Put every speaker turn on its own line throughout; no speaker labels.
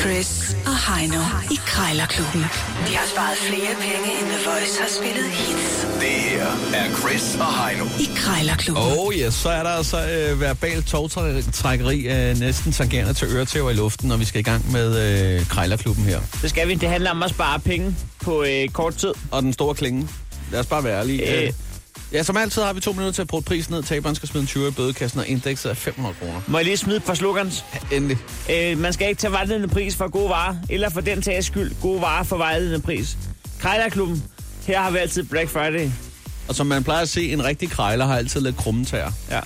Chris og Heino i Krejlerklubben. De har sparet flere penge, end The Voice har spillet hits
Det her er Chris og Heino.
i Krejlerklubben. Oh.
Oh yes, så er der altså øh, verbal togtrækkeri øh, næsten tangerende til øretæver i luften, når vi skal i gang med øh, Krejlerklubben her.
Det skal vi. Det handler om at spare penge på øh, kort tid.
Og den store klinge. Lad os bare være ærlige.
Øh.
Øh. Ja, som altid har vi to minutter til at bruge prisen ned. Taberen skal smide en 20 i bødekassen, og indekset er 500 kroner.
Må jeg lige smide et par slogans?
Endelig.
Øh, man skal ikke tage vejledende pris for gode varer, eller for den tages skyld gode varer for vejledende pris. Krejlerklubben, her har vi altid Black Friday.
Og som man plejer at se, en rigtig krejler har altid lidt krumme tæer.
Ja.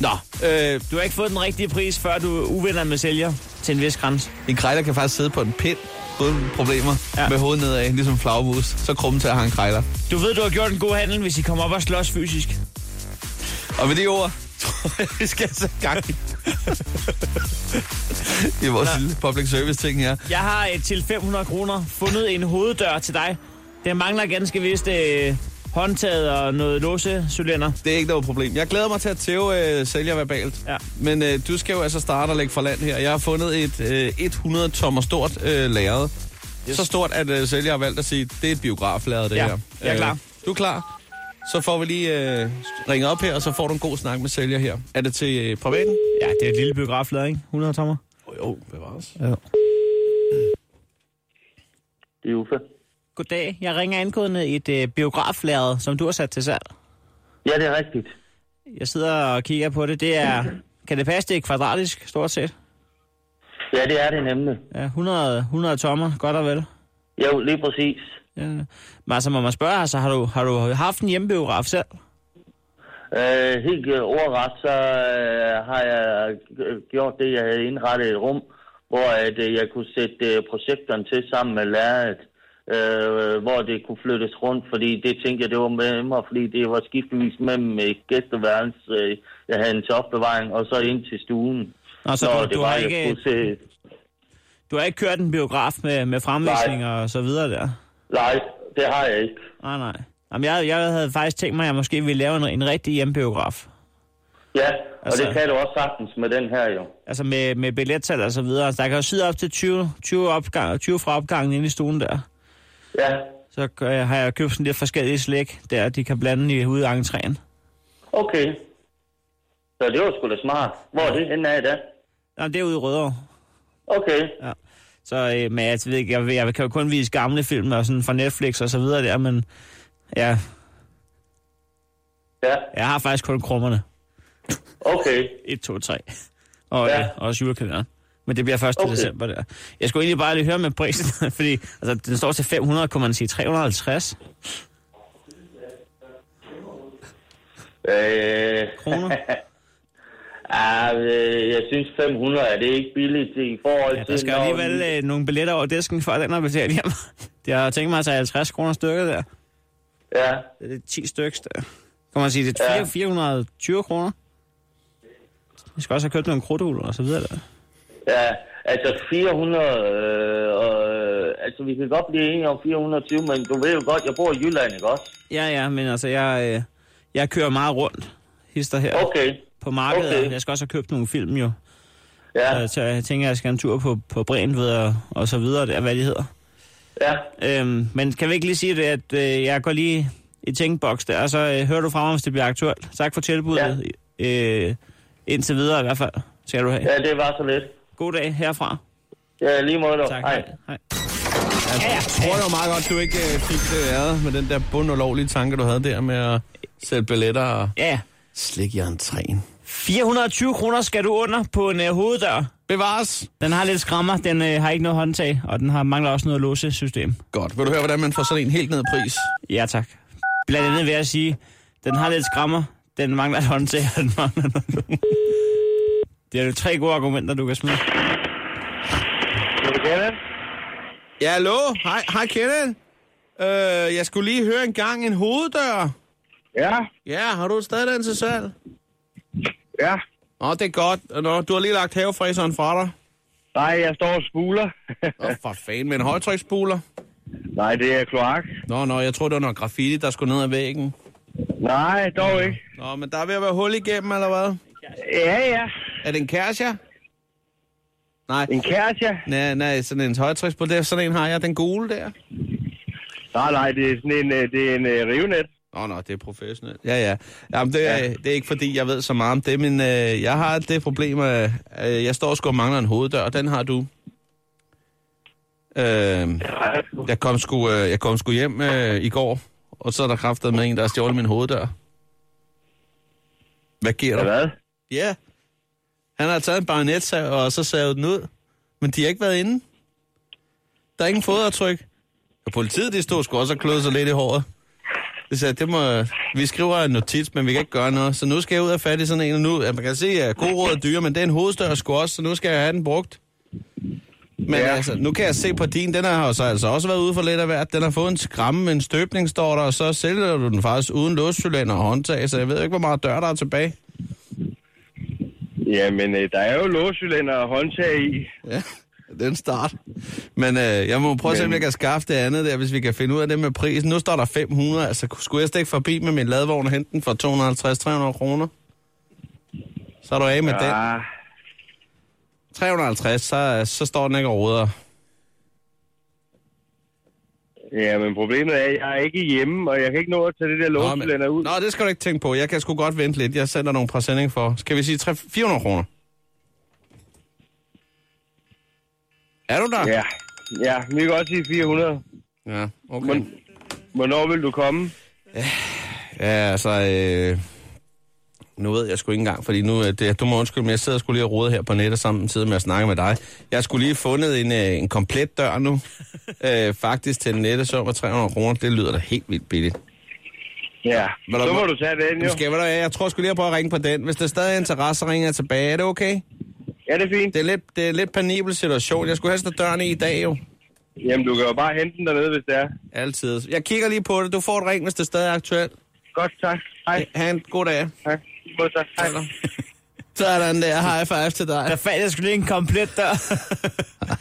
Nå, øh,
Du har ikke fået den rigtige pris, før du er uvenner med sælger til en vis grænse.
en krejler kan faktisk sidde på en pind uden problemer ja.
Ja.
med hovedet nedad, ligesom flagmus. Så krumme tæer har en krejler.
Du ved, du har gjort en god handel, hvis I kommer op og slås fysisk.
Og med de ord, tror jeg, vi skal så i gang. I vores lille public service ting her.
Jeg har øh, til 500 kroner fundet en hoveddør til dig. Den mangler ganske vist øh, håndtaget og noget låsecylinder.
Det er ikke noget problem. Jeg glæder mig til at tæve øh, sælger verbalt.
Ja.
Men øh, du skal jo altså starte og lægge for land her. Jeg har fundet et øh, 100 tommer stort øh, lærred. Yes.
Yes.
Så stort, at øh, sælger har valgt at sige, det er et biograflærred, det
Ja,
her. Øh,
jeg er klar.
du er klar? Så får vi lige øh, ringet op her, og så får du en god snak med sælger her. Er det til øh, privaten?
Ja, det er et lille biograflader, ikke? 100 tommer.
Jo, bevares.
Ja.
Det er Uffe.
Goddag. Jeg ringer angående et øh, biograflærred, som du har sat til salg.
Ja, det er rigtigt.
Jeg sidder og kigger på det. Det er... Kan det passe, det er kvadratisk, stort set?
Ja, det er det nemlig.
Ja, 100, 100 tommer, godt og vel.
Jo, lige præcis.
Ja. Men altså, må man spørge, altså, har, du, har du haft en hjemmebiograf selv?
Øh, helt øh, ordret, så øh, har jeg øh, gjort det, jeg havde indrettet et rum, hvor at, øh, jeg kunne sætte øh, projektoren til sammen med lærret, øh, hvor det kunne flyttes rundt, fordi det tænkte jeg, det var med mig, fordi det var skiftevis mellem et gæsteværelse, øh, jeg havde en til opbevaring, og så ind til stuen.
Nå, så
Når
du, du, har
jeg
ikke,
kunne se-
du har ikke kørt en biograf med, med fremvisninger og så videre der?
Nej, det har jeg ikke.
Nej, nej. Jamen, jeg, jeg havde faktisk tænkt mig, at jeg måske ville lave en, en rigtig hjemmebiograf.
Ja, og
Altså-
det kan du også sagtens med den her jo.
Altså med, med billettal og så videre. Altså, der kan jo sidde op til 20, 20, opgang, 20 fra opgangen inde i stuen der.
Ja,
Så øh, har jeg købt sådan lidt forskellige slæk, der de kan blande i ude af entréen.
Okay. Så det var sgu da smart. Hvor er det henne af i dag?
Nå, det er ude i Rødovre.
Okay.
Så, øh, men jeg ved ikke, jeg, ved- jeg kan jo kun vise gamle film og sådan fra Netflix og så videre der, men ja,
Ja,
jeg har faktisk kun krummerne.
okay.
1, 2, 3. Og, ja.
Ja.
øh, og også julekalenderen. Men det bliver 1. Okay.
Okay.
december der. Jeg skulle egentlig bare lige høre med prisen, fordi altså, den står til 500, kunne man sige 350
Øh,
kroner.
ah, øh, jeg synes 500 er det ikke billigt i forhold
Ja,
til...
der skal
når-
alligevel øh, nogle billetter over disken, for at den har betalt hjem. Jeg har tænkt mig at tage 50 kroner stykket der.
Ja,
Det er 10 stykker der. Kan man sige, det er
Ja.
4, 420 kroner? Vi skal også have købt nogle krudthuler og så videre der.
ja. Altså 400... Øh, og, øh, altså vi kan godt blive enige om 420, men du ved jo godt, jeg bor i Jylland, ikke også?
Ja, ja, men altså, jeg, øh, jeg kører meget rundt, hister her, okay.
Okay.
på markedet. Okay.
okay.
Jeg skal også have købt nogle film, jo.
Ja,
Ja. Så jeg tænker, jeg skal en tur på, på Brindved og, og så videre, der, hvad de hedder.
ja.
Øhm, men kan vi ikke lige sige det, at øh, jeg går lige i tænkboks der, og så øh, hører du fra mig, hvis det bliver aktuelt. Tak for tilbuddet. Ja. Øh, indtil videre i hvert fald, skal du have. Ja.
Ja, det var så lidt.
God dag herfra.
Ja, lige måde dog.
Tak.
Hej.
Hej.
Jeg tror jo meget godt, du ikke øh, fik det æret med den der bundulovlige tanke, du havde der med at sætte billetter og
Ja, ja.
slik i entréen.
420 kroner skal du under på en øh, hoveddør.
Bevares!
Den har lidt skrammer, den øh, har ikke noget håndtag, og den har mangler også noget låsesystem.
Godt. Vil du høre, hvordan man får sådan en helt ned i pris?
Ja tak. Blandt andet vil jeg sige, den har lidt skrammer, den mangler et håndtag, og den mangler noget lås. Det er jo tre gode argumenter, du kan smide.
Ja, hallo? Hej, hej Kenneth. Øh, jeg skulle lige høre en gang en hoveddør.
Ja,
Ja, har du stadig den til salg?
ja.
Nå, det er godt. Nå, du har lige lagt havefræseren fra dig.
Nej, jeg står og spuler.
Åh, for fanden, med en højtryksspuler.
Nej, det er kloak.
Nå, nå, jeg tror det var noget graffiti, der skulle ned ad væggen.
Nej, dog ikke.
Nå, men der er ved at være hul igennem, eller hvad?
Ja, ja.
Er det en kæreste? Nej.
En kæreste?
Nej, nej, sådan en højtryksbold. Det er sådan en har jeg, den gule der.
Nej, nej, det er sådan en, øh, det er en øh, rivnet.
Nå, nå, det er professionelt. Ja, ja. Jamen, det er, ja. det er ikke fordi, jeg ved så meget om det, men øh, jeg har det problem, at øh, jeg står sgu og mangler en hoveddør, og den har du. Øh, jeg, kom sgu, øh, jeg kom sgu hjem øh, i går, og så er der kraftet med en, der har stjålet min hoveddør. Hvad giver
Ja,
du?
hvad?
Ja. Han har taget en bajonetsav, og så savet den ud. Men de har ikke været inde. Der er ingen fodretryk. Og politiet, de stod sgu også og kløede sig lidt i håret. Det sagde, det må, vi skriver en notits, men vi kan ikke gøre noget. Så nu skal jeg ud og fatte sådan en, og nu, ja, man kan se, at god råd er dyre, men det er en hovedstør sgu også, så nu skal jeg have den brugt. Men ja.
Ja.
altså, nu kan jeg se på din, den har jo så altså også været ude for lidt af hvert. Den har fået en skramme med en støbning, står der, og så sælger du den faktisk uden låscylinder og håndtag, så jeg ved jo ikke, hvor meget dør der er tilbage.
Jamen, øh, der er jo låscylinder og håndtag i.
Ja, det er en start. Men øh, jeg må prøve at se, om
Men-
jeg kan skaffe det andet der, hvis vi kan finde ud af det med prisen. Nu står der 500, altså skulle jeg stikke forbi med min ladvogn og hente den for 250-300 kroner? Så er du af med ja. den.
Ah,
350, så, så står den ikke og råder.
ja, men problemet er, at jeg er ikke hjemme, og jeg kan ikke nå at tage det der låscylinder ud.
nå, det skal du ikke tænke på. Jeg kan sgu godt vente lidt. Jeg sender nogle præsending for, skal vi sige, 300 400 kroner? Er du der?
Ja, ja, vi kan godt sige 400.
Ja, okay.
Men- Hvornår vil du komme?
Ja, altså... Øh, nu ved jeg sgu ikke engang, fordi nu... er Det, du må undskylde, men jeg sidder sgu lige og rode her på nettet samtidig med at snakke med dig. Jeg skulle lige have fundet en, øh, en komplet dør nu. øh, faktisk til en nettesum af 300 kroner. Det lyder da helt vildt billigt.
Ja,
Hvordan-
så må du tage den jo.
Jamen, Skal, jeg- ved du hvad, jeg tror sgu lige, jeg prøver at ringe på den. Hvis der stadig er interesse, så ringer jeg tilbage. Er det okay?
Ja, det er fint.
Det er lidt, det er lidt penibel situation. Jeg skulle helst have døren i i dag jo.
Jamen, du kan jo bare hente den dernede, hvis det er.
Altid. Jeg kigger lige på det. Du får et ring, hvis det stadig er aktuelt.
Godt, tak. Hej,
Ha' en god dag.
hej. Godt, tak. Hej.
Sådan der. High five til dig.
Der fandt jeg skulle lige en komplet dør.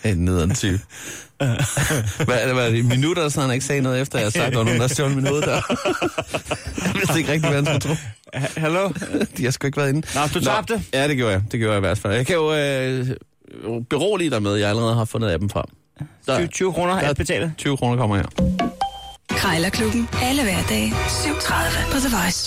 Ej, nederen type. hvad, er det, hvad er det, minutter, så han ikke sagde noget efter, jeg har sagt, at der var nogen, der stjålet min hoveddør? jeg vidste ikke rigtig, hvad han skulle tro.
Hallo?
De har sgu ikke været inde.
Nå, du tabte.
Ja, det gjorde jeg. Det gjorde jeg i hvert fald. Jeg kan jo øh, berolige dig med, at jeg allerede har fundet appen frem. Der,
20, 20 kroner
der-
at betale.
20 kroner kommer her.
Krejlerklubben. Alle hverdage. 7.30 på The Voice.